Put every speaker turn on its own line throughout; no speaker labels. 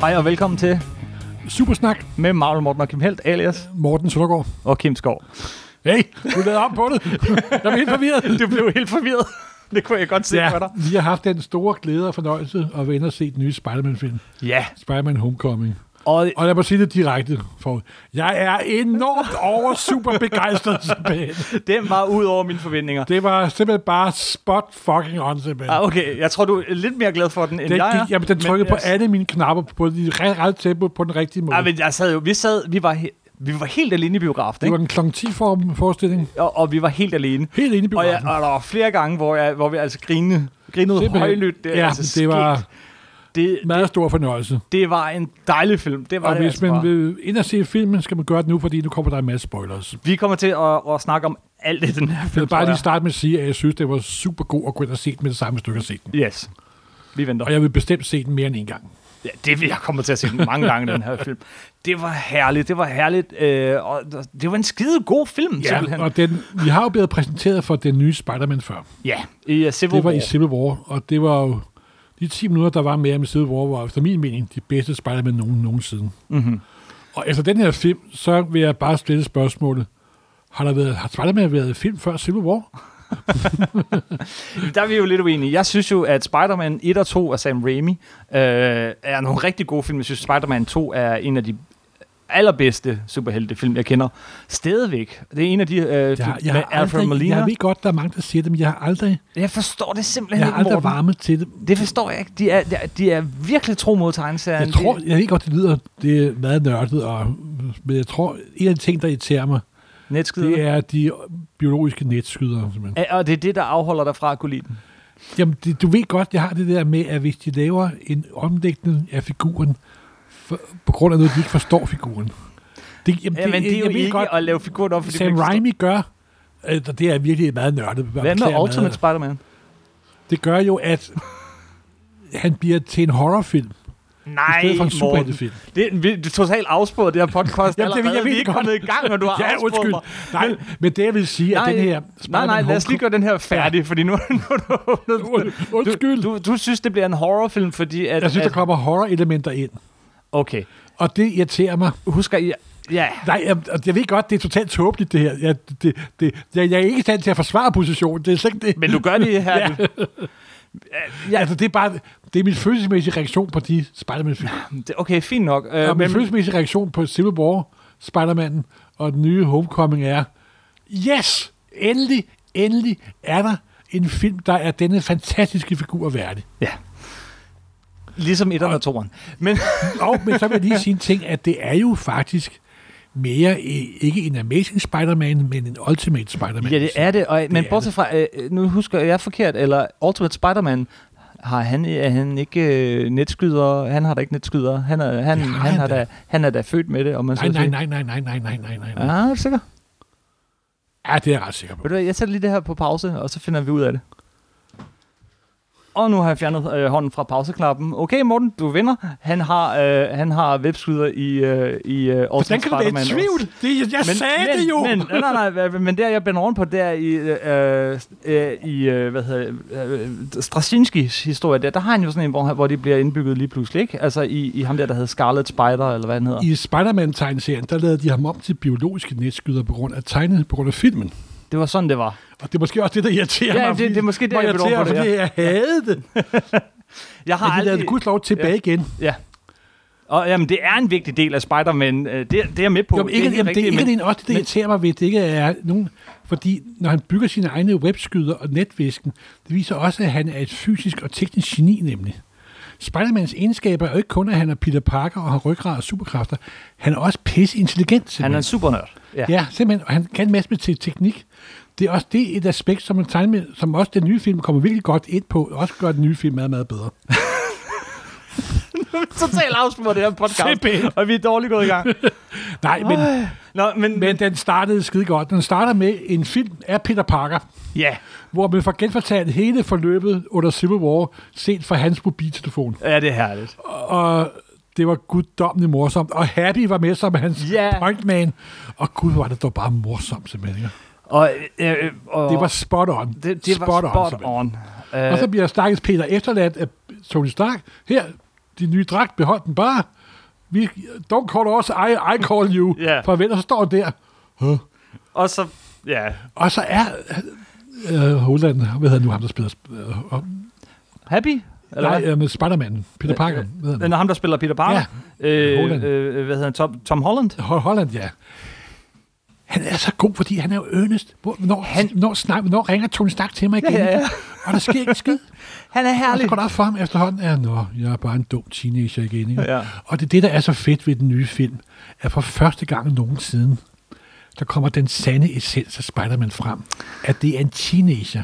Hej og velkommen til
Supersnak,
med Marvel Morten og Kim Helt, alias
Morten Søndergaard.
og Kim Skov.
Hey, du lavede op på det. Jeg er helt forvirret.
Du blev helt forvirret. Det kunne jeg godt se for dig.
vi har haft den store glæde og fornøjelse at være inde og se den nye Spider-Man-film.
Ja,
Spider-Man Homecoming.
og
Og lad mig sige det direkte, for jeg er enormt over super begejstret simpelthen.
den var ud over mine forventninger.
Det var simpelthen bare spot fucking on simpelthen.
Ah, okay, jeg tror, du er lidt mere glad for den, end
Den,
jeg er.
gik, jamen, den trykkede på
jeg-
alle mine knapper på de ret, ret tempo på den rigtige måde.
Ah, øh, men jeg sad jo, vi sad, vi var, he- vi var helt alene i biografen,
det var
ikke?
en kl. 10 form- forestilling.
Og, og vi var helt alene.
Helt inde i
Og, jeg,
biografen.
og der var flere gange, hvor, jeg, hvor vi altså grinede, grinede
Simpelthen.
højlydt. Det, er
ja,
altså
det var
skægt. det,
meget stor fornøjelse.
det var en dejlig film. Det var
Og
det
hvis
altså bare.
man vil ind og se filmen, skal man gøre det nu, fordi nu kommer der en masse spoilers.
Vi kommer til at, at snakke om alt i den her
Jeg
film,
vil bare
tror
lige
jeg.
starte med at sige, at jeg synes, det var super god at gå ind og se den med det samme stykke at se den.
Yes. Vi venter.
Og jeg vil bestemt se den mere end en gang.
Ja, det vil jeg komme til at se mange gange, den her film. Det var herligt, det var herligt. Øh, og det var en skide god film, ja, simpelthen.
og den, vi har jo blevet præsenteret for den nye Spider-Man før.
ja, i uh, Civil
Det var
War.
i Civil War, og det var jo de 10 minutter, der var med om Civil War, var efter min mening de bedste Spider-Man nogen nogensinde.
mm-hmm.
Og efter den her film, så vil jeg bare stille spørgsmålet. Har, der været, har Spider-Man været i film før Civil War?
Der er vi jo lidt uenige. Jeg synes jo, at Spider-Man 1 og 2 af Sam Raimi øh, er nogle rigtig gode film. Jeg synes, Spider-Man 2 er en af de allerbedste superheltefilm, jeg kender. Stadigvæk. Det er en af de øh, jeg,
Jeg,
film
jeg,
med
har
Alfred
aldrig,
Molina.
jeg
Jeg,
ved godt, der er mange, der siger det, men jeg har aldrig,
forstår det simpelthen
jeg har
ikke,
aldrig
Morten.
varmet til det.
Det forstår jeg ikke. De er, de er, de er virkelig tro mod tegneserien.
Jeg tror, jeg ved godt, det lyder det er meget nørdet, og, men jeg tror, en af de ting, der irriterer mig,
Netskider.
det er de biologiske netskyder. Simpelthen.
Ja, Og det er det, der afholder dig fra at kunne lide den.
Jamen, det, du ved godt, jeg har det der med, at hvis de laver en omdækning af figuren, for, på grund af noget, de ikke forstår figuren. Det, jamen,
Ja, men det er jo
jeg ved
ikke godt. at lave figuren om, fordi
Sam
man ikke
Raimi gør, øh, og det er virkelig meget nørdet.
forstår- Hvad med Ultimate Spider-Man?
Det gør jo, at han bliver til en horrorfilm,
Nej,
i stedet for en
Morten.
superheltefilm.
Det er, en vild- det er totalt afspurgt, det her podcast.
Jamen, det- jeg
allerede.
ved
vi er
det
ikke
godt.
kommet i gang, og du har
Ja,
afspurgt
undskyld.
mig.
Nej, men det jeg vil sige,
Nej,
at den her...
Nej, nej, lad os lige gøre den her færdig, fordi nu, nu, nu, nu
Spider-Man Homecoming- Undskyld.
du, Altså- du synes, det bliver en horrorfilm, fordi... At,
Jeg synes,
at,
der kommer horror-elementer ind,
Okay,
og det irriterer mig.
husker I... Ja,
Nej, jeg, og jeg ved godt, det er totalt tåbeligt, det her. Jeg, det, det, jeg, jeg er ikke i stand til at forsvare positionen. Det er slet ikke det.
men du gør det her. ja.
ja. Altså, det er bare... Det er min følelsesmæssige reaktion på de Spider-Man-film.
Det- Okay, fint nok. Øh,
og min
men,
følelsesmæssige reaktion på Civil War, Spider-Man og den nye Homecoming er, yes, endelig, endelig er der en film, der er denne fantastiske figur værdig.
ja. Ligesom et og toeren. Men
Og, men så vil jeg lige sige en ting, at det er jo faktisk mere i- ikke en Amazing Spider-Man, men en Ultimate Spider-Man.
Ja, det er det. Og, det men
er
bortset fra, øh, nu husker jeg forkert, eller Ultimate Spider-Man, har han, er han ikke øh, netskyder? Han har da ikke netskyder. Han er, han,
Det
han,
har
han,
han
har
da.
da, han er da født med det. Om man så
Nej, nej,
siger.
nej, nej, nej, nej, nej, nej, nej.
Ah, er du sikker?
Ja, det er jeg ret sikker på.
Ved du hvad, jeg sætter lige det her på pause, og så finder vi ud af det. Og nu har jeg fjernet øh, hånden fra pauseknappen. Okay, Morten, du vinder. Han har, øh, han har webskyder i, øh, i øh,
Hvordan
Ultimate
kan du være
Spider-Man.
i tvivl? Det, jeg men, sagde
men,
det jo!
Men, nej, nej, nej, men- men der jeg bænder oven på, der i, øh, øh, i øh, hvad hedder, øh, Straczynskis historie, der, der har han jo sådan en, hvor, han- hvor de bliver indbygget lige pludselig, ikke? Altså i, i ham der, der hedder Scarlet Spider, eller hvad han hedder.
I Spider-Man-tegneserien, der lavede de ham om til biologiske netskyder på grund af tegnet, på grund af filmen.
Det var sådan, det var.
Og det er måske også det, der irriterer
Ja,
mig.
det- det er måske det,
hvor
jeg vil over
irriterer
på det,
mig, fordi jeg havde det.
Jeg
Men
har
de lavede det
aldrig...
gudslov tilbage igen.
Ja. Og jamen, det er en vigtig del af Spider-Man. Øh, Det, det er jeg med på.
Jamen, ikke,
helt
jamen, det er
rigtigt,
ikke
men-
men, også det, der
men-
irriterer mig ved, det ikke er nogen... Fordi når han bygger sine egne webskyder og netvæsken, det viser også, at han er et fysisk og teknisk geni nemlig. Spider-Mans egenskaber er jo ikke kun, at han er Peter Parker og har ryggrad og superkræfter. Han er også pisse intelligent, simpelthen.
Han er en supernørd. Ja.
Ja, simpelthen. Og han kan en masse med te- teknik. Det er også det er et aspekt, som, en tegne med, som også den nye film kommer virkelig godt ind på, og også gør den nye film meget, meget bedre.
Totalt afspurgt det her
Simpelthen.
podcast. og vi er dårligt gået i gang.
Nej, men,
Nå, men,
men den startede skide godt. Den starter med en film af Peter Parker,
ja.
hvor man får genfortalt hele forløbet under Civil War, set fra hans mobiltelefon.
ja, det er herligt.
Og det var guddommeligt morsomt. Og Happy var med som hans
Ja.
yeah. pointman. Og gud, hvor var det dog bare morsomt, simpelthen. ikke?
Og, øh, øh, og,
Det var spot on.
Det, det
spot
var spot
simpelthen.
on.
Og
Øh,
så bliver Stakkels Peter efterladt af Tony Stark. Her, din nye dragt, behold den bare. Vi, don't call us, I, I call you.
Ja.
For venner, så står han der. Huh?
Øh, Og så, ja,
Og så er øh, Holland, hvad hedder nu ham, der spiller... Øh, og-
Happy? Eller
nej,
hvad?
øh, med Spider-Man, Peter Parker.
øh,
Hvad hedder han?
Nå, ham, der spiller Peter Parker. Ja. Øh,
Holland.
øh, hvad hedder han? Tom, Tom Holland?
Ho- Holland, ja. Han er så god, fordi han er jo earnest. Hvor- Hvornår, han, når, snak, hvornår ringer Tony Stark til mig igen?
Ja, ja, ja.
Og der sker ikke en skid.
Han er
Og så
herlig.
går der op for ham efterhånden, at Nå, jeg er bare en dum teenager igen. Ikke?
Ja.
Og det er det, der er så fedt ved den nye film, at for første gang nogensinde, der kommer den sande essens af Spider-Man frem. At det er en teenager,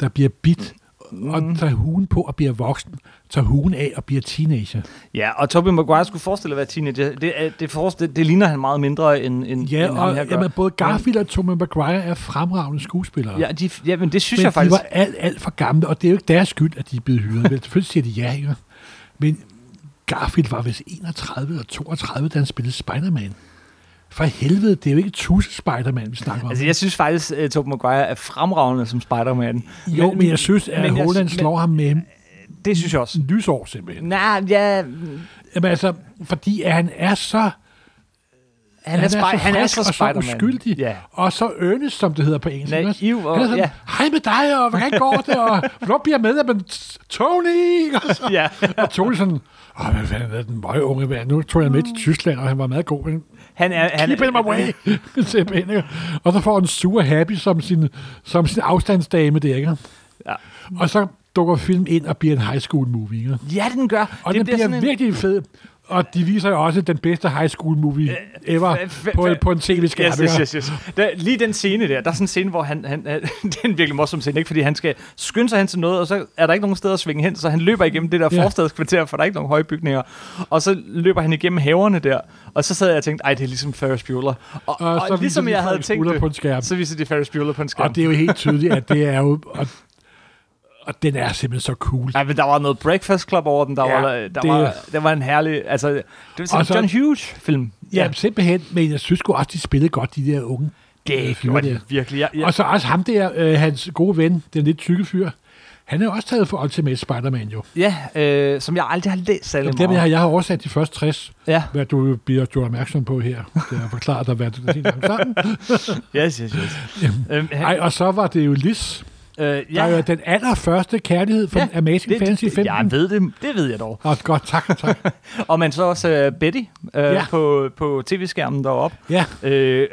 der bliver bit og tager huen på og bliver voksen, tager huen af og bliver teenager.
Ja, og Tobey Maguire skulle forestille at være teenager. Det, er- det, forestille, det, det ligner han meget mindre end, end,
Ja,
end ham her
og
gør.
jamen, både Garfield og Tobey Maguire er fremragende skuespillere.
Ja, de, ja, men det synes
men
jeg faktisk...
de var alt, alt for gamle, og det er jo ikke deres skyld, at de er blevet hyret. Vel, selvfølgelig siger de ja, ikke? Men Garfield var vist 31 eller 32, da han spillede Spider-Man. For helvede, det er jo ikke Tusse Spider-Man, vi snakker om.
Altså, jeg synes faktisk, at Tobey Maguire er fremragende som Spider-Man.
jo, men, jeg synes, at
men jeg-
Holland
men-
slår ham med
Det synes jeg også.
lysår simpelthen.
Nej, ja,
Jamen altså, fordi at han er så...
han, er, spej- han er
frisk
så
og så
Spider-Man.
uskyldig,
Ja.
og så earnest, som det hedder på engelsk. ikke også?
Naiv og-
han er sådan,
ja.
hej med dig, og hvordan går det, og hvornår bliver jeg med? Men Tony! Og så,
ja.
Og Tony sådan, åh, hvad fanden er den møge unge mand? Nu tog jeg med til Tyskland, og han var meget god. Men
Han er, han
keep him away! Simpelthen, ikke? og så får han super happy som sin, som sin afstandsdame der, ikke?
Ja.
Og så dukker film ind og bliver en high school movie, ikke?
Ja, den gør.
Og det den bliver, bliver
sådan
virkelig en... fed. Og de viser jo også den bedste high school movie ever
fa- fa-
på,
fa-
på en tv-skærm.
Yes, yes, yes, yes. Der, lige den scene der, der er sådan en scene, hvor han, han han- det er en virkelig morsom scene, ikke? fordi han skal skynde sig hen til noget, og så er der ikke nogen steder at svinge hen, så han løber igennem det der
Ja.
forstadskvarter, for der er ikke nogen høje bygninger, og så løber han igennem haverne der, og så sad jeg og tænkte, ej, det er ligesom Ferris Bueller. Og, og,
Og så
og ligesom
viser de
jeg havde
Ferris
tænkt
Bueller
det,
på en skærm.
så viser de Ferris Bueller på en skærm.
Og det er jo helt tydeligt, at det er jo... Og, og den er simpelthen så cool.
Ja, men der var noget Breakfast Club over den, der,
Ja,
ja, var, der,
det-
var, der var en herlig, altså, det var sådan
Og så-
en John Hughes-film.
Ja, simpelthen. Men jeg synes sgu også, de spillede godt, de der unge. øh,
det
fyre
gjorde
der.
det virkelig. Jeg, jeg,
Og så også ham der, øh, hans gode ven, den lidt tykke fyr. Han er jo også taget for Ultimate Spider-Man jo.
ja, øh, som jeg aldrig har læst særlig
Jamen, det
meget.
har jeg har oversat de første 60,
Ja,
hvad du bliver gjort opmærksom på her. Det har forklaret dig, hvad det er sammen.
yes, yes, yes. Øhm, han-
Ej, og så var det jo Liz,
øh,
ja. der er jo den allerførste kærlighed fra
Ja,
ja. Amazing
det,
Fantasy 15.
Jeg ved det, det ved jeg dog.
Åh, godt, tak, tak.
Og man så også øh, Betty øh, ja.
Ja.
på, på tv-skærmen deroppe.
Ja,
Øh, øh,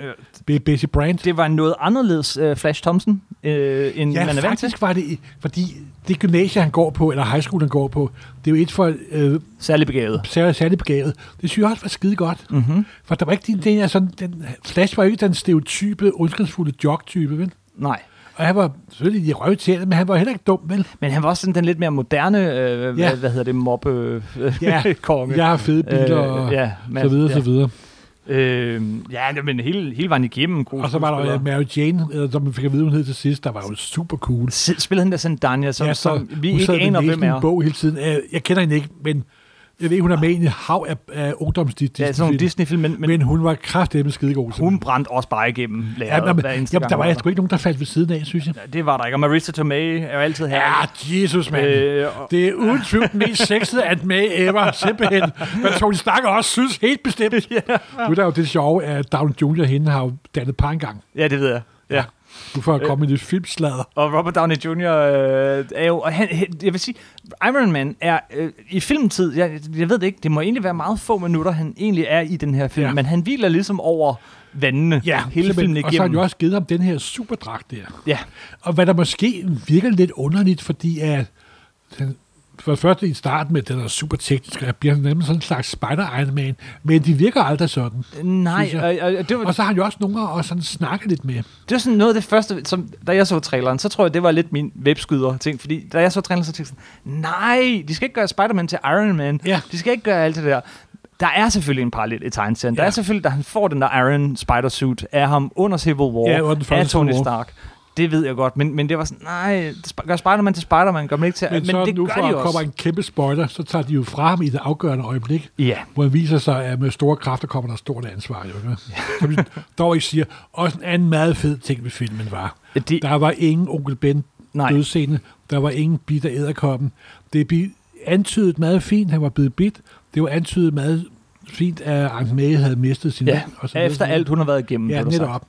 B- Bessie Brand.
det var noget anderledes øh, Flash Thompson, øh, end
Ja,
man er vant til.
faktisk var det, fordi det gymnasie, han går på, eller high school, han går på, det er jo et for øh,
Særlig begavet.
særligt, særligt begavet. Det synes jeg også var skide godt.
Mm-hmm.
For der var ikke den, den, her sådan, den Flash var jo ikke den stereotype, ondskabsfulde jock-type, vel?
Nej.
Og han var selvfølgelig i røvtælle, men han var heller ikke dum, vel?
Men han var også sådan den lidt mere moderne, øh, ja.
Ja.
hvad, hvad hedder det, mobbe øh,
Ja.
konge.
Jeg har fede biler og
øh, ja,
så videre,
ja.
så videre.
Øh, ja, men hele, hele vejen igennem. Gode
Og så var der jo
skuespillere.
Mary Jane, øh, som vi fik at vide, hun hed til sidst, der var jo super cool.
Selv spillede han der sådan Dania, som, ja,
så
som vi
hun
ikke
sad ved
aner,
næsen
hvem
i
er.
en bog hele tiden. Øh, Jeg kender hende ikke, men jeg ved, hun er med i en hav af, af ungdomsdit.
Ja, sådan nogle Disney-film, men, men,
men, men hun var kraftedeme skidegod.
hun brændte også bare igennem
ja,
lærredet
men,
hver eneste
jamen,
gang.
der var
hun
sgu ikke nogen, der faldt ved siden af, synes jeg.
der. Det var der ikke, og Marissa Tomei er jo altid her.
Ja, Jesus, mand.
Øh, og-
Det er uden tvivl den mest sexede at med ever, simpelthen. Men Tony Stark også synes helt bestemt. Nu er der jo det sjove, at Down Jr. hende har jo dannet par engang.
ja, det ved jeg. Ja. Øh.
Nu får jeg komme med lidt filmslader.
Og Robert Downey Jr. Øh, er jo... Og han, han- jeg vil sige, Iron Man er øh, i filmtid... Jeg, jeg ved det ikke. Det må egentlig være meget få minutter, han egentlig er i den her film. Ja.
Ja.
Men han hviler ligesom over vandene hele
simpelthen.
filmen
Og så har han
igennem.
jo også givet ham den her superdragt der.
Ja,
Og hvad der måske virker lidt underligt, fordi at den, for det første i starten med, den er super teknisk, og jeg bliver nemlig sådan en slags spider Iron Man, men de virker aldrig sådan.
nej,
Synes
og,
jeg.
og, det, var,
Og så har han jo også nogen at at sådan snakke lidt med.
det var sådan noget af det første, som, da jeg så traileren, så tror jeg, det var lidt min webskyder ting, fordi da jeg så traileren, så tænkte jeg sådan, nej, de skal ikke gøre Spider-Man til Iron Man,
Ja.
de skal ikke gøre alt det der. Der er selvfølgelig en parallel i tegneserien. Ja. Der
Ja.
er selvfølgelig, da han får den der Iron Spider-suit af ham under Civil War,
Ja, under den første
af Tony
Civil War.
Stark. Det ved jeg godt, men, men det var sådan, nej, sp- gør Spider-Man til Spider-Man, gør man ikke til...
Men, men så
det
nu,
gør
for
de
at
også.
kommer en kæmpe spoiler, så tager de jo fra ham i det afgørende øjeblik,
Ja,
hvor han viser sig, at med store kræfter kommer der stort ansvar. Jo, ikke? Som vi dog ikke siger. Også en anden meget fed ting ved filmen var,
de,
der var ingen onkel Ben
nej,
dødscene. Der var ingen bitter æderkoppen. Det bi- antydet meget fint, han var blevet bidt. Det var antydet meget fint, at Aunt May havde mistet sin
Ja,
ven. og så videre.
efter alt, hun har været igennem.
Ja,
blev der sagt.
netop.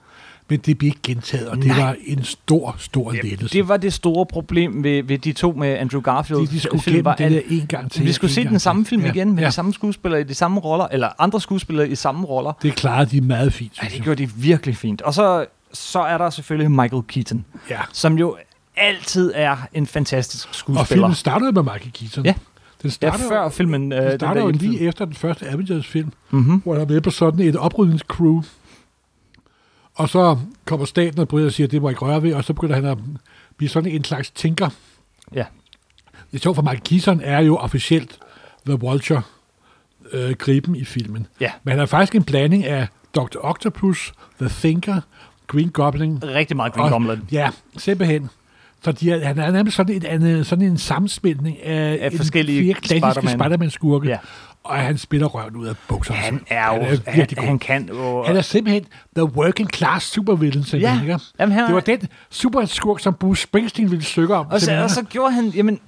Men det blev ikke gentaget, og det
Nej.
var en stor, stor lettelse.
Det var det store problem ved, ved de to med Andrew Garfield.
De, de skulle
film,
gennem
var,
det der
at
en gang til.
vi skulle
en
se
gang
den
til.
samme film
ja.
igen med
ja.
de samme skuespillere i de samme roller, eller andre skuespillere i samme roller.
Det klarede de meget fint,
Ja,
synes
det
jeg.
gjorde de virkelig fint. Og så, så er der selvfølgelig Michael Keaton,
Ja.
som jo altid er en fantastisk
Og
skuespiller.
filmen starter jo med Michael Keaton.
Ja. ja,
Den starter,
før filmen... Øh,
den starter jo lige efter den første Avengers-film,
mm-hmm.
hvor han er med på sådan et oprydningscrew. Og så kommer staten og bryder og siger, at det må jeg ikke røre ved, og så begynder han at blive sådan en slags tænker.
Ja.
Det er sjovt, for Michael Keaton er jo officielt The Vulture, øh, griben i filmen.
Ja.
Men han er faktisk en blanding af Dr. Octopus, The Thinker, Green Goblin.
Rigtig meget Green
og-
Goblin.
Ja, simpelthen. Så de er, han er nærmest sådan, et, andet, sådan en sammensmeltning af,
Af forskellige
fire klassiske
Spider-Man.
Spider-Man-skurke.
Ja.
Og han spiller røven ud af bukserne.
Han er jo...
han
Han,
virkelig god.
han kan jo...
Han er simpelthen the working class supervillain,
ja,
simpelthen. Ja.
jamen, han,
Det var den superskurk, som Bruce Springsteen ville søge om.
Og så,
simpelthen.
og så gjorde han, jamen,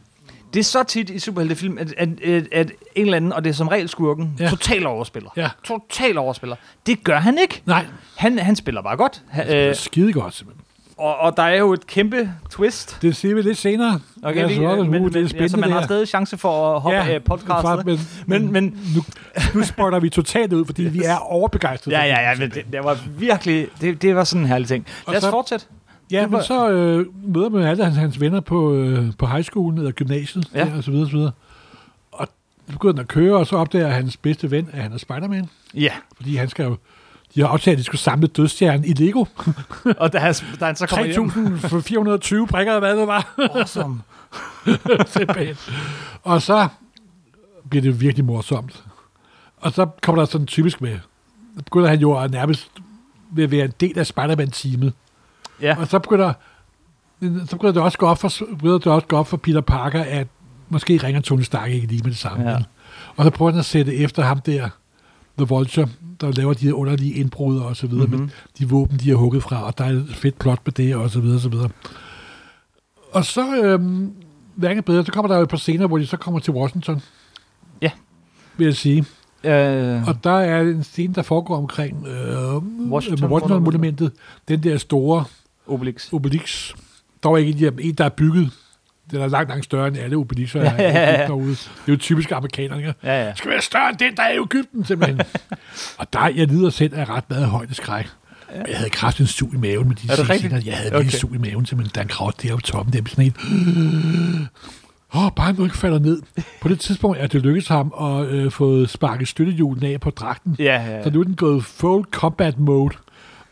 det er så tit i superheltefilm, at, at, at, at en eller anden, og det er som regel skurken, ja.
Ja.
total overspiller.
Ja.
Total overspiller. Det gør han ikke.
Nej,
Han, han spiller bare godt. Han, øh,
skide godt, simpelthen.
og, og der er jo et kæmpe twist.
Det ser vi lidt senere.
Okay,
Ja,
lige,
så er det-
men, men,
uh, det er
det altså, man
det
har
her.
stadig chance for at hoppe ja, af
fra-
podcastet.
men,
øh, Men, men,
nu, nu spotter vi totalt ud, fordi vi er overbegejstrede.
ja,
for
ja, ja,
filmen,
men det, det var virkelig, det, det var sådan en herlig ting.
Og
Lad os
så-
fortsætte.
Ja,
Det var-
men så øh, møder man alle hans, hans venner på, øh, på højskolen eller gymnasiet,
Ja.
ja. der, og så videre, og så videre. Og så begynder han at køre, og så opdager hans bedste ven, at han er Spider-Man,
Ja,
fordi han skal jo de har aftalt, at de skulle samle dødstjernen i Lego.
og da han, da han så kommer hjem,
3.420 brikker, eller hvad det var.
awesome.
Simpelthen. og så bliver det virkelig morsomt. Og så kommer der sådan typisk med, så begynder han jo at nærmest ved at være en del af Spider-Man-teamet.
Ja.
Og så begynder, så begynder det også gå op for, begynder det også gå op for Peter Parker, at måske ringer Tony Stark ikke lige med det samme.
Ja.
Og så prøver han at sætte efter ham der, The Vulture, der laver de her underlige indbrud og så
Mhm.
videre, mm-hmm. men de våben, de har hugget fra, og der er et fedt plot med det, og så videre, så videre. Og så, øhm, hverken bedre, så kommer der jo et par scener, hvor de så kommer til Washington.
Ja.
Vil jeg sige.
Øh,
Og der er en scene, der foregår omkring øh,
Washington-
Washington, Washington-monumentet. Den der store
Obelix.
Obelix. Der var ikke en, de- en, der er bygget. Den er langt, langt større end alle Obelixer,
Ja, ja,
ja,
ja.
ja, ja. derude. Det er jo typisk amerikanerne. ikke?
Ja, ja.
Det skal være større end den, der er i Ægypten, simpelthen. og der, jeg lider selv af ret meget højdeskræk. Ja. Jeg havde kraftigt en sug i maven med de
Er det
sidste
rigtigt?
scener. Jeg havde okay. en
Okay.
sug i maven, simpelthen, da han kravlede deroppe på toppen. Det er sådan en... Åh, oh, bare han nu ikke falder ned. På det tidspunkt er det lykkedes ham at øh, få sparket støttehjulen af på dragten.
Ja, ja, ja.
Så nu er den gået full combat mode,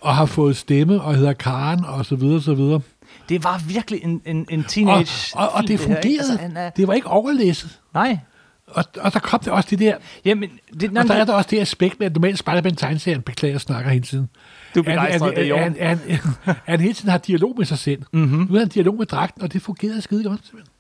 og har fået stemme, og hedder Karen, og så videre, så videre.
Det var virkelig en, en, en
Og,
teenage
og, og det
film, her, ikke? Altså,
fungerede.
han er,
Det var ikke overlæsset.
nej.
Og, og der kom det også det der,
Jamen, det, nej,
og der er
det,
der også det aspekt med, at normalt Spider-Man tegneserien beklager og snakker hele tiden.
du er
At, at,
begejstret,
at,
det er i orden. Mhm.
at, at, at han hele tiden har dialog med sig selv. Mm-hmm. Nu har han dialog med dragten, og det fungerede skide godt. simpelthen.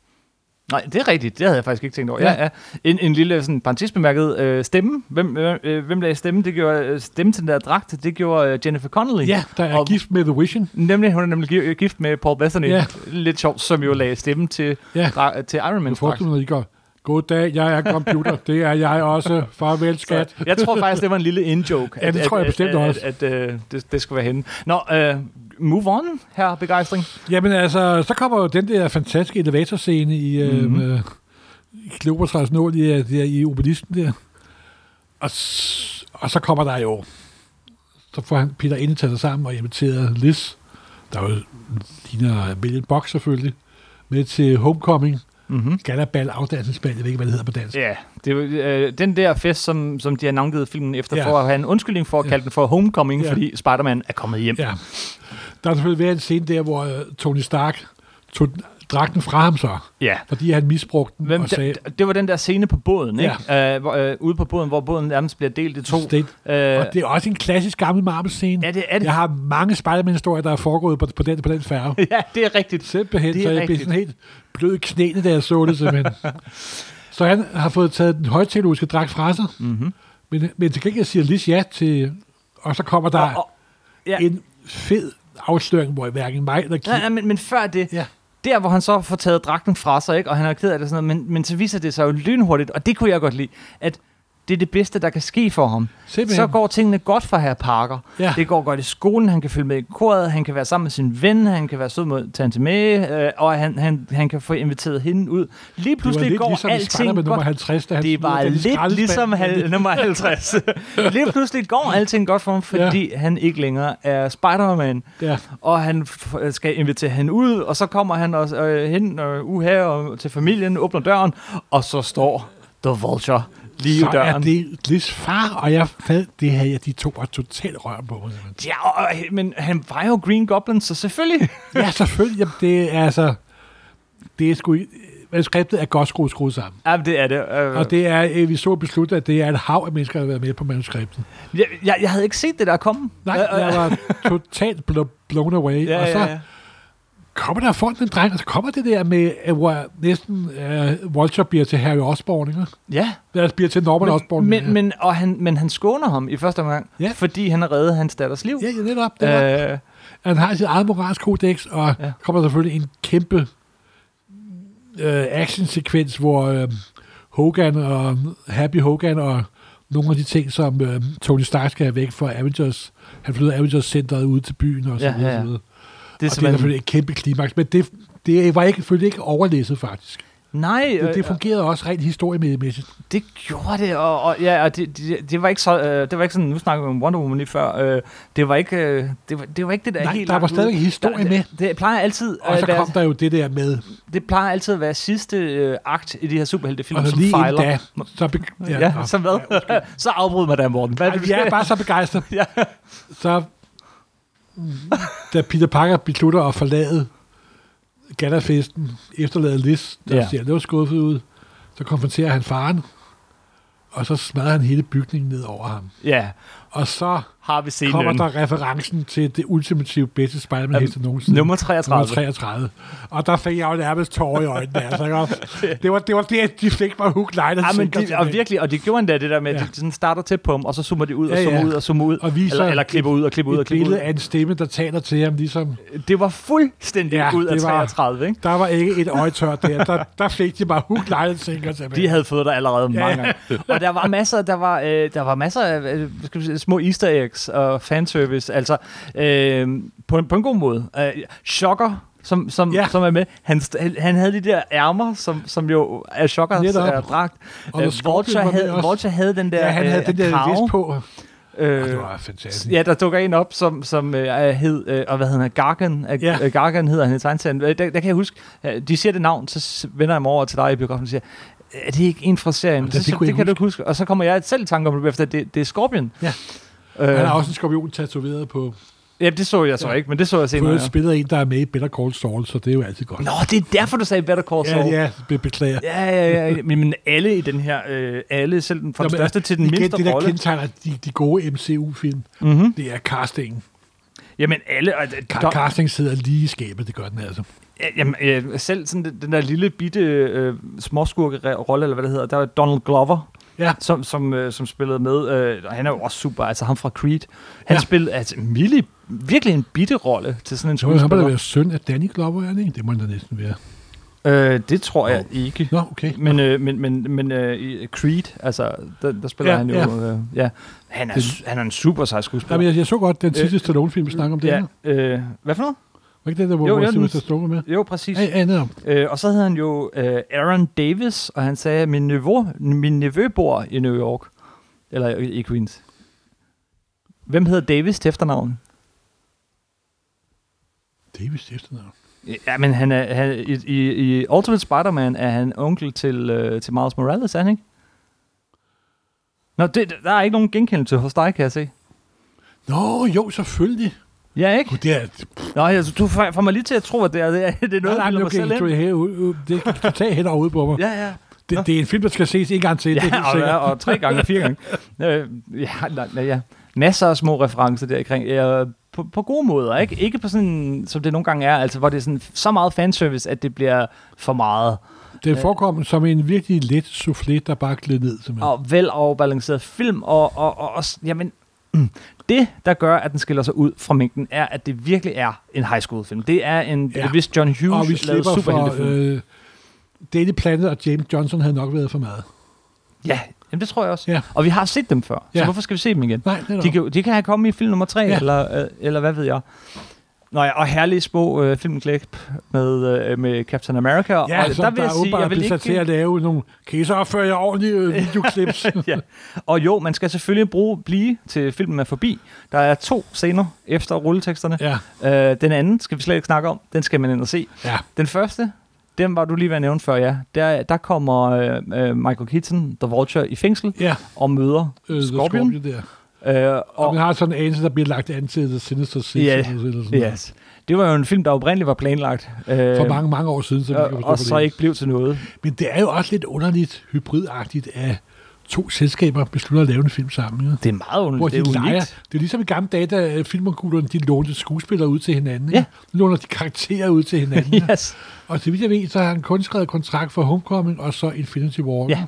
Nej, det er rigtigt. Det havde jeg faktisk ikke tænkt over. Ja.
Ja.
Ja, ja. En, en lille sådan, parentesbemærket øh, stemme. Hvem, øh, øh, hvem lagde stemme? Det gjorde øh, stemme til den der dragt. Det gjorde øh, Jennifer Connelly.
Ja, der er
Og-
og, gift med The Vision.
Nemlig, hun er nemlig gi- øh, gift med Paul Bettany.
Ja.
Lidt sjovt, som jo lagde stemme til,
Ja.
dra- til Iron Man.
Jeg forestiller mig, at I går, God dag, jeg er computer. Det er jeg også. Farvel, skat.
Jeg tror faktisk, det var en lille in-joke.
Ja, det tror jeg bestemt
at,
også.
At, at, at øh, det, det skulle være henne. Nå, øh, move on, her begejstring.
Jamen altså, så kommer jo den der fantastiske elevatorscene i,
Mhm.
mm-hmm. øh, i Kleopatras nål i, øh, der, i obelisken der. Og, s- og så kommer der jo, så får han Peter ind taget sig sammen og inviterer Liz, der jo ligner Million Box selvfølgelig, med til Homecoming.
Mhm.
Galabal, afdansningsbal, jeg ved ikke, hvad det hedder på dansk.
Ja, det, er jo, øh, den der fest, som, som de har navngivet filmen efter,
Ja.
for at have en undskyldning for at kalde den for Homecoming,
Ja.
fordi Spider-Man er kommet hjem.
Ja. Der har selvfølgelig været en scene der, hvor øh, Tony Stark tog den- dragten fra ham så,
ja.
fordi han misbrugte den
Hvem,
og sagde,
det, det var den der scene på båden, ikke? Ja. Øh, hvor, øh, ude på båden, hvor båden nærmest bliver delt i to.
State,
Øh,
Og det er også en klassisk gammel Marvel-scene.
Ja, det er det.
Jeg har mange Spider-Man-historier, der er foregået på, på, den, på den færge.
ja, det er rigtigt.
Simpelthen,
Det er
så jeg blev
rigtigt.
sådan helt blød i knæene, da jeg så det simpelthen. så han har fået taget den højteknologiske dragt fra sig. Mm-hmm. Men, men til gengæld siger Liz ja til... Og så kommer der
Og- og- ja.
en fed afsløring, hvor hverken mig eller Kim...
Nej, nej, men, men før det,
Ja.
Der, hvor han så får taget dragten fra sig, ikke? og han er ked af det og sådan noget, men, men så viser det sig jo lynhurtigt, og det kunne jeg godt lide, at det er det bedste, der kan ske for ham.
Simpelthen.
Så går tingene godt for herr Parker.
Ja.
Det går godt i skolen, han kan følge med i koret, han kan være sammen med sin ven, han kan være sød mod tante May, øh, og han, han, han kan få inviteret hende ud. Lige
det var
pludselig
lidt
går
ligesom i
alting
Spider-Man nummer
godt.
50, da han
Det
smider
var
den i
lidt
skraldespanden.
ligesom hal- nummer 50. Lige pludselig går alting godt for ham, fordi ja. han ikke længere er Spider-Man
Ja.
og han f- skal invitere hende ud, og så kommer han også øh, hen øh, uha, og til familien, åbner døren, og så står The Vulture lige
Så
i
er
døren.
det Liz far, og jeg fad, det havde jeg de to var totalt rør på. simpelthen.
Ja, og, og- men han var jo Green Goblin, så selvfølgelig.
Ja, selvfølgelig. Jamen, det er altså... Det er sgu... Manuskriptet er godt skruet, skruet sammen.
ja, det er det. Øh,
Og det er, øh, vi så besluttet, at det er et hav af mennesker, der har været med på manuskriptet.
jeg, jeg, jeg havde ikke set det der komme.
Nej,
Øh, øh,
jeg var totalt blo- blown away.
ja,
og så
ja, ja.
kommer der folk med en dreng, og så kommer det der med, øh, hvor næsten øh, Vulture bliver til Harry Osborn, ikke?
ja.
Eller bliver til Norman Osborn.
men, men, og han, men han skåner ham i første omgang,
Ja.
fordi han har reddet hans datters liv.
Ja, ja, netop. netop.
Ja, øh,
Han har sit eget moralsk kodex, og
Ja.
ja. kommer selvfølgelig en kæmpe øh, actionsekvens, hvor øh, Hogan og Happy Hogan og nogle af de ting, som øh, Tony Stark skal have væk fra Avengers. Han flytter Avengers centret ud til byen og så
Ja,
videre.
ja,
Ja,
ja.
ja.
det
videre.
er
Og det er
simpelthen...
selvfølgelig et kæmpe klimaks, men det, det var ikke, selvfølgelig ikke overlæsset faktisk.
Nej,
Det, det
øh,
fungerede også rent historiemæssigt.
Det gjorde det, og, og, ja, og det, det, det, var ikke så, øh, det var ikke sådan, nu snakker vi om Wonder Woman lige før, øh, det, var ikke, øh, det, var, det var ikke det, der er
Nej,
helt
der var
langt ude.
stadig historie
Der-
med.
Det, det plejer altid
Og så
at være,
kom der jo det der med,
det plejer altid at være sidste øh, akt i de her superheltefilm,
og
som
lige
fejler.
endda, så, be-
Ja, ja, så hvad? så afbryd mig da, Morten. Hvad, er
Ej,
det, du
jeg er
skal-
bare så begejstret.
Ja.
Så da Peter Parker beslutter at forlade Gatterfesten, efterlade Liz, der
Ja.
ja. ser lidt skuffet ud, så konfronterer han faren, og så smadrer han hele bygningen ned over ham.
ja,
Og så
har vi scenen.
kommer der referencen til det ultimative bedste Spider-Man
Jamen,
heste nogensinde.
nummer 33.
Nummer 33. Og der fik jeg jo nærmest tårer i øjnene. Altså, ikke også? det, var, det var det, de fik mig hook, line
Ja, men
sinker
de, og
tilbage.
virkelig, og det gjorde endda det der med, at
Ja.
de sådan starter tæt på ham, og så zoomer de ud, og
Ja,
zoomer
ja.
ud, og zoomer ud,
Og viser
eller, eller klipper ud, og klipper ud, og
et
klipper ud.
billede af en stemme, der taler til ham, ligesom
Det var fuldstændig
Ja,
ud af
det var-
33, ikke?
Der var ikke et øje tørt der. Der, der fik de bare hook, line and sinker tilbage.
De havde fået dig allerede
Ja,
mange
ja.
gange. Og der var masser, der var, øh, der var masser af øh, hvad skal vi sige, små easter eggs og fanservice, altså øh, på, en, på en god måde. Øh, Shocker, som, som, ja.
Ja.
som er med, han, st- han- han havde de der ærmer, som, som jo er Shockers
Netop.
er dragt.
Og
Øh,
The Scorpion var
Vulture,
med
havde,
også.
Vulture havde den der
ja, han havde
øh,
den der
krave.
vest på.
Øh,
Øh, det var fantastisk.
Ja, der dukker en op, som, som øh, er- hed, øh, og hvad hedder han, Gargan, ja.
Ja.
øh, Gargan hedder han i tegneserien. Øh, Der, der, kan jeg huske, øh, de siger det navn, så s- vender jeg mig over til dig i biografen og siger, er det ikke en fra serien?
Jamen,
Så
det- det
siger jeg,
kunne jeg
det kan
ikke
du ikke huske. Og så kommer jeg selv i tanke om det, efter det, det er Scorpion.
Ja.
Øh,
Han har også en skorpion tatoveret på,
ja, det så jeg så
Ja.
ikke, men det så jeg
på
senere.
et
ja.
spillet af en, der er med i Better Call Saul, så det er jo altid godt.
Nå, det er derfor, du sagde Better Call Saul.
ja, ja, be- beklager. Ja,
Ja, ja, ja. Men, men alle i den her, øh, alle, selv den, fra den største til den
igen,
mindste
det der
rolle.
kendetegner de, de gode MCU-film,
Mhm.
det er castingen.
Jamen alle, og, øh,
Ka-
der-
casting sidder lige i skabet, det gør den altså.
Ja, Jamen, øh, selv sådan den, den der lille bitte øh, småskurke-rolle, eller hvad det hedder, der var Donald Glover,
Ja,
som, som, øh, som spillede med, øh, og han er jo også super, altså ham fra Creed. Han ja.
Ja.
spillede altså, en lille, virkelig en bitte rolle til sådan en
så må han bare
skuespiller.
være søn af Danny Glover, er det ikke? Det må han da næsten være.
Øh, det tror jeg ikke.
Nå, okay.
Men, øh, men, men, men øh, i Creed, altså, der, der spiller ja,
Ja,
han jo... Ja. Øh, ja. Han, er, su- han er en super sej skuespiller.
Jamen, jeg, jeg så godt den sidste Stallone-film, vi snakker om det her.
Øh, ja, øh, hvad for noget?
Var ikke det der, hvor
Jo,
jo,
jo,
jeg
den-
ser Stallone med?
Jo, præcis.
Ja, ja, netop.
Øh, og så hed han jo øh, Aaron Davis, og han sagde, min nevø, min nevø bor i New York. Eller i, i Queens. Hvem hedder Davis til efternavn?
Det er vist efternavn.
Ja, men han er, han, i, i, i Ultimate Spider-Man er han onkel til, øh, til Miles Morales, er han ikke? Nå, det, der er ikke nogen genkendelse hos dig, kan jeg se.
Nå, jo, selvfølgelig.
Ja, ikke?
Gud, det er...
Nå, jeg, du får får mig lige til at tro, at det er, det er, det er noget,
Nej,
jeg
nej,
bilder mig
okay,
selv ind.
du, her, uh, det kan du tage hen overhovedet på mig. Ja.
Ja, ja.
Det, det, er en film, der skal ses en gang til. det er helt
Ja, og,
sikkert.
ja, og tre gange, fire gange. Øh, ja, nej, nej, ja. Masser af små referencer derikring. Øh, på, på gode måder, ikke? Ikke på sådan, som det nogle gange er, altså, hvor det er sådan, så meget fanservice, at det bliver for meget.
Den forekom som en virkelig let soufflé, der bare gled ned. Simpelthen.
Og vel afbalanceret film, og, og, og, og s- jamen, mm, Det, der gør, at den skiller sig ud fra mængden, er, at det virkelig er en high school film. Det er en,
Ja.
ja. hvis John
og vi
Hughes lavede
slipper for
superheltefilm. Øh.
øh, Daily Planet og James Johnson havde nok været for meget.
Ja, jamen, det tror jeg også.
Ja.
Ja. Og vi har set dem før, så
Ja.
hvorfor skal vi se dem igen?
Nej, netop.
De kan, jo- de kan have kommet i film nummer 3,
Ja.
ja. eller, øh, eller hvad ved jeg. Nå ja, og herlige små øh, filmklip med, øh, med Captain America.
Ja,
og
som der, der er åbenbart blevet sat til at lave nogle, kan I så opføre jer ordentlige øh, videoklips?
ja. Og jo, man skal selvfølgelig bruge blive til filmen er forbi. Der er to scener efter rulleteksterne.
ja,
Ja. Øh, den anden skal vi slet ikke snakke om. Den skal man ind og se.
ja.
Den første, den var du lige ved at nævne før, ja. Der, der kommer øh, øh, Michael Keaton, The Vulture, i fængsel
ja.
og møder
Øh, The
Scorpion.
Scorpion der.
Øh,
Og man
og,
har sådan en anelse, der bliver lagt an til The Sinister Six.
Ja,
eller sådan noget.
yes. Det var jo en film, der oprindeligt var planlagt. Øh,
For mange, mange år siden, så vi kan
øh,
forstå
og så
det.
ikke blev til noget.
Men det er jo også lidt underligt, hybridagtigt, at to selskaber beslutter at lave en film sammen. Ja.
Det er meget
Hvor
underligt.
de
Det er unikt.
leger. Det er ligesom i gamle dage, da øh, filmongulerne, de lånte skuespillere ud til hinanden. ikke?
Ja.
Nu låner de karakterer ud til hinanden. ja.
Yes.
Og så vidt jeg ved, så har han kun skrevet kontrakt for Homecoming og så Infinity War.
Ja.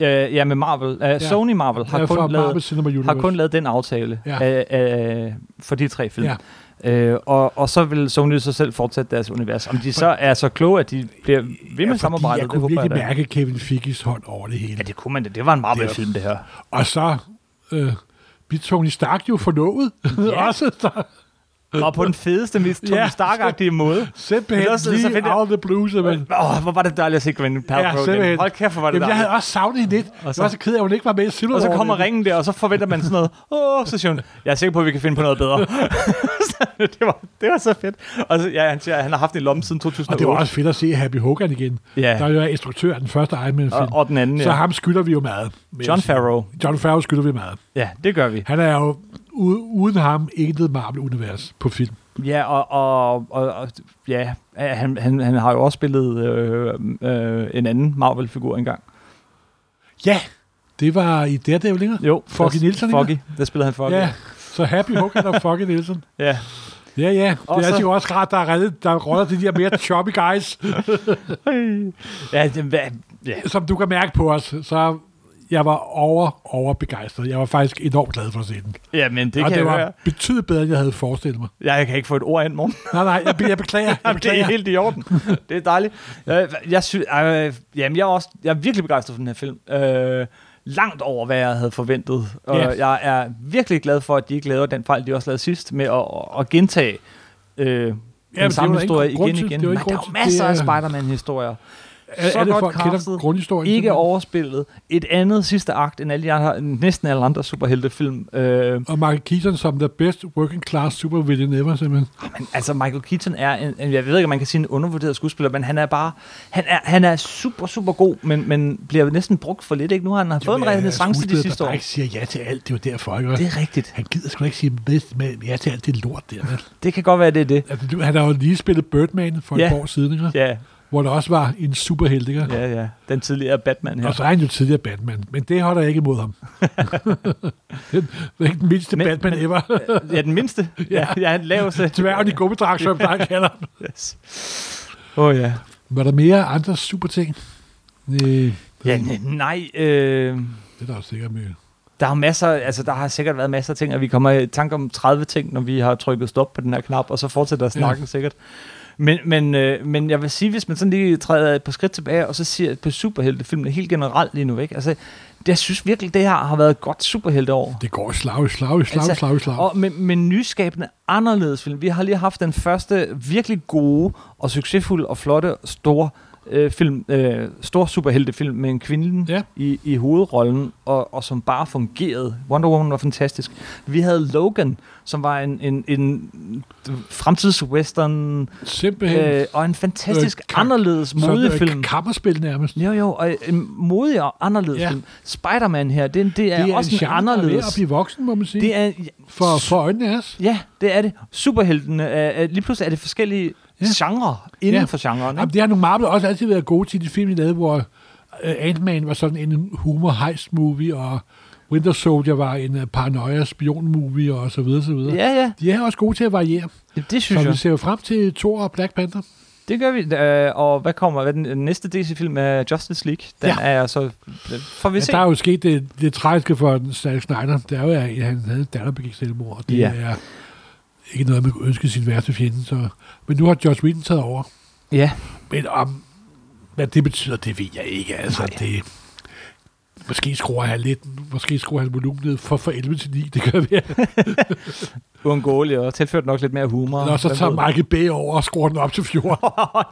Øh, ja, med Marvel. Øh, Sony Marvel har,
Har
kun
for
lavet,
Marvel Cinema Universe.
har kun lavet den aftale
Ja.
øh, øh, for de tre film.
Ja.
Øh, og, og så vil Sony så selv fortsætte deres univers. Om de så er så kloge, at de bliver ved med
fordi
samarbejdet,
jeg
det
kunne
håber jeg
virkelig
da.
mærke Kevin Figges hånd over det hele.
Ja, det kunne man da. Det var en Marvel-film, det her.
Og så øh, vi Tony Stark jo forlovet. Ja.
Ja.
Også der
Og på den fedeste, mest Tony
Øh, Ja.
Stark-agtige måde.
simpelthen
Men også, så
lige
finder jeg-
out of the blue, simpelthen.
Åh, oh, hvor var det dejligt at se Gwyneth Paltrow. Ja, Hold kæft, hvor var det
Jamen, jeg havde
dejligt.
også savnet hende lidt. Jeg var
så-
så ked af, at hun ikke var med i Silver
Og så
War,
kommer
men-
ringen der, og så forventer man sådan noget. Åh, oh, så siger hun, jeg er sikker på, at vi kan finde på noget bedre. Så det, var, det var så fedt. Og så, ja, han siger, at han har haft en lomme siden
Og det var
2008.
også fedt at se Happy Hogan igen.
Ja.
Der er jo instruktør af den første Iron Man-film.
Og, og den anden,
Så
ja.
ham skylder vi jo meget. vil jeg
John
sige.
Farrow.
John Farrow skylder vi meget.
Ja, det gør vi.
Han er jo u- uden ham intet Marvel-univers på film.
Ja, og, og, og, og ja, han, han, han har jo også spillet øh, øh, en anden Marvel-figur engang.
Ja, det var i Daredevil, ikke?
Jo,
Foggy
der-
Nielsen, ikke?
Foggy, der spillede han Foggy.
Ja, så Happy Hogan og fucking Nielsen.
ja.
Ja, ja.
Og
det er
så-
så... også rart, der er reddet, der roller de der mere choppy guys,
Ja, det, hvad, ja.
som du kan mærke på os. Så jeg var over, over begejstret. Jeg var faktisk enormt glad for at se den.
ja, men det
og
kan
det
jeg
var
høre.
betydeligt bedre, end jeg havde forestillet mig.
Jeg kan ikke få et ord ind, morgen.
Nej, nej, jeg, be- jeg beklager. Jeg
det er
beklager.
helt i orden. Det er dejligt. Jeg, jeg, sy, øh, jamen, jeg, er også, jeg er virkelig begejstret for den her film. Øh, langt over, hvad jeg havde forventet. Og
Ja.
jeg er virkelig glad for, at de ikke laver den fejl, de også lavede sidst, med at, at- at gentage øh,
det var
den samme
der ingen
historie
grund
igen
til.
igen.
Det var
Nej,
ikke
der er
grund
jo
til.
masser
Det
af
er-
Spider-Man-historier.
Er,
så
er det
godt
folk kender
castet.
grundhistorien?
Ikke
simpelthen?
overspillet. Et andet sidste akt end alle de andre, næsten alle andre superheltefilm. Øh,
Og Michael Keaton som the best working class supervillain ever, simpelthen.
Men altså, Michael Keaton er en, en, jeg ved ikke, om man kan sige en undervurderet skuespiller, men han er bare, han er, han er super, super god, men, men bliver næsten brugt for lidt, ikke? Nu har han har fået en
Jamen,
renaissance de
skuespiller,
sidste
der
år.
bare ikke siger ja til alt, det er jo derfor, ikke?
Det er rigtigt.
Han gider sgu da ikke sige med, med, ja til alt det lort der, vel?
Det kan godt være, det er det.
Altså, du- han har jo lige spillet Birdman for et
Ja.
par år siden, ikke?
Ja,
hvor der også var en superhelt, ikke?
ja, ja. Den tidligere Batman her.
Og så er han jo tidligere Batman, men det holder jeg ikke imod ham. det er ikke den mindste
Men-
Batman
men-
ever.
Ja, den mindste. Ja, ja han laveste.
Tværgen i gummidrag, som der kalder ham.
Yes. Åh oh, ja.
Var der mere andre super ting? Øh,
Ja, n- nej, øh,
det er der jo sikkert mere.
der er masser, altså der har sikkert været masser af ting, og vi kommer i tanke om 30 ting, når vi har trykket stop på den her knap, og så fortsætter snakken ja. sikkert. Men, men, øh, men jeg vil sige, hvis man sådan lige træder et par skridt tilbage, og så siger på superheltefilmene helt generelt lige nu, ikke? Altså, det, jeg synes virkelig, det her har været et godt superhelteår.
Det går slag, i slag, i slag, i
Altså,
slag, i slag.
Og med, med nyskabende anderledes film. Vi har lige haft den første virkelig gode og succesfulde og flotte store øh, film, øh, stor superheltefilm med en kvinde
Ja.
ja. i, i hovedrollen, og, og som bare fungerede. Wonder Woman var fantastisk. Vi havde Logan, som var en, en, en fremtidswestern,
Simpelthen.
øh, og en fantastisk
Øh, kak-
øh, anderledes modig
Sådan
film.
et kammerspil nærmest.
Jo, jo, og en modig og anderledes
Ja.
ja. film. Spider-Man her, det, er en- det er, det er også en,
genre, der er ved at
anderledes.
blive voksen, må man sige.
Det er,
for, for øjnene af os.
Ja, det er det. Superheltene, er, er, lige pludselig er det forskellige
Ja.
ja. genrer inden
Ja.
ja. for genren.
Jamen,
Ikke?
det har nogle Marvel også altid været gode til, de film, de lavede, hvor øh, Ant-Man var sådan en humor-heist-movie, og Winter Soldier var en øh, paranoia-spion-movie, og så videre, så videre.
Ja, ja,
De er også gode til at variere,
det, det
så
synes
vi
jeg.
ser jo frem til Thor og Black Panther.
Det gør vi. Øh, og hvad kommer? Hvad er den den næste DC-film er Justice League. Den
Ja.
ja. er så... øh, Får vi
Ja,
se.
der er jo sket det, det tragiske for Zack Snyder. Det er jo, at han havde en datter, der begik selvmord. Og det
Ja.
ja. er ikke noget, man kunne ønske sin værste fjende. Så. Men nu har Josh Whedon taget over.
Ja.
Men om, hvad det betyder, det ved jeg ikke. Altså, det, måske skruer han lidt, måske skruer han volumen ned fra, fra 11 til 9, det kan være.
Uundgåelig og tilført nok lidt mere humor.
Eller så
Hvem
tager
ved?
Michael Bay over og skruer den op til 14.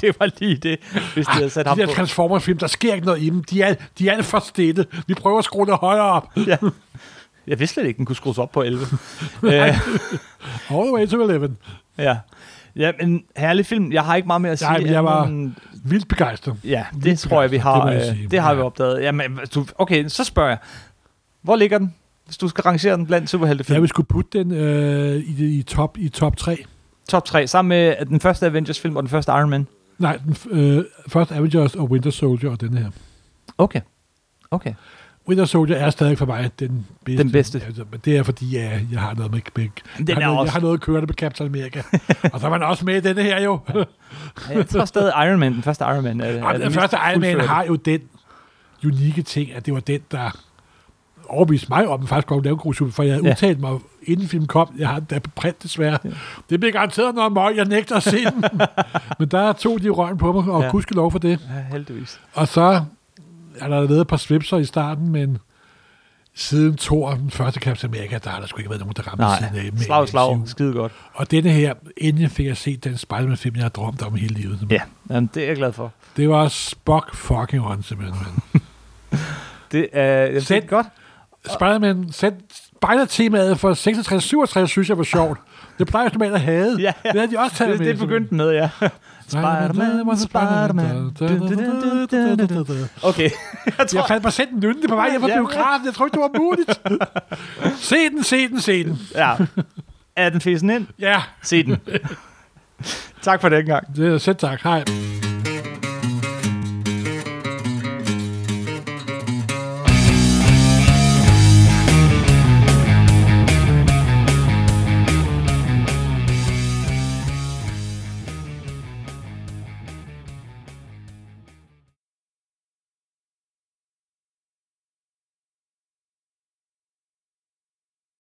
det var lige det, hvis de havde sat ham
Ah, De der
på.
Transformers-film, der sker ikke noget i dem. De er, de er alt for stille. Vi prøver at skrue det højere op.
Ja. Jeg vidste slet ikke, den kunne skrues op på 11. øh,
All the way to 11.
ja. ja, men herlig film. Jeg har ikke meget mere at sige.
Nej, men jeg var-
men-
Vildt begejstret.
Ja, det tror jeg, vi har.
Det må jeg
Det,
sige.
øh, det har vi
Ja.
opdaget. Jamen, du, okay, så spørger jeg. Hvor ligger den, hvis du skal rangere den blandt superheltefilm?
Jeg vil skulle putte den øh, i, det- i, top, i top 3.
Top 3, sammen med øh, den første Avengers-film og den første Iron Man.
Nej, den, f- øh, først Avengers og Winter Soldier og den her.
Okay. Okay.
Winter Soldier er stadig for mig den bedste.
Den bedste.
Altså, men det er fordi, jeg, jeg har noget med... med
Den er
jeg, har noget,
også-
jeg har noget kørende med Captain America. og så er man også med i denne her jo.
Jeg tror stadig Iron Man, den første Iron Man. Er, er
og den
mest
første Iron Man
fuldførte.
har jo den unikke ting, at det var den, der overbeviste mig om, at den faktisk godt lave en god super, for jeg havde
Ja.
ja. udtalt mig, inden filmen kom, jeg har den der på print desværre. Ja. Det bliver garanteret noget møg, jeg nægter at se den. Men der tog de røven på mig, og
Ja.
ja. kuske lov for det.
Ja, heldigvis.
Og så er der været et par svipser i starten, men siden Thor, den første Captain America, der har der sgu ikke været nogen, der ramte siden
Nej,
af. med
slag, slag.
MCU.
Skide godt.
Og denne her, endelig fik jeg set den Spider-Man-film, jeg har drømt om hele livet.
Ja, Jamen, det er jeg glad for.
Det var spok fucking on, simpelthen. mand.
Det, øh, jamen, det er
Sæt-
godt.
Spider-Man, send Spider-temaet for 66-67, synes jeg var sjovt. Det plejer jeg normalt at have.
Ja, ja.
Det havde de også taget
Det,
med.
det begyndte den med, ja. Spider-Man, Spider-Man. Du, du, du, du, du, du. Okay, jeg
Jeg
tror...
fandt mig selv nynde på vej hjem fra
Ja, ja.
biografen. Jeg tror ikke, det var muligt. Se den, se den, se den.
Ja. Er den fesen ind?
Ja,
Se den. tak for den gang.
det er selv tak. Hej.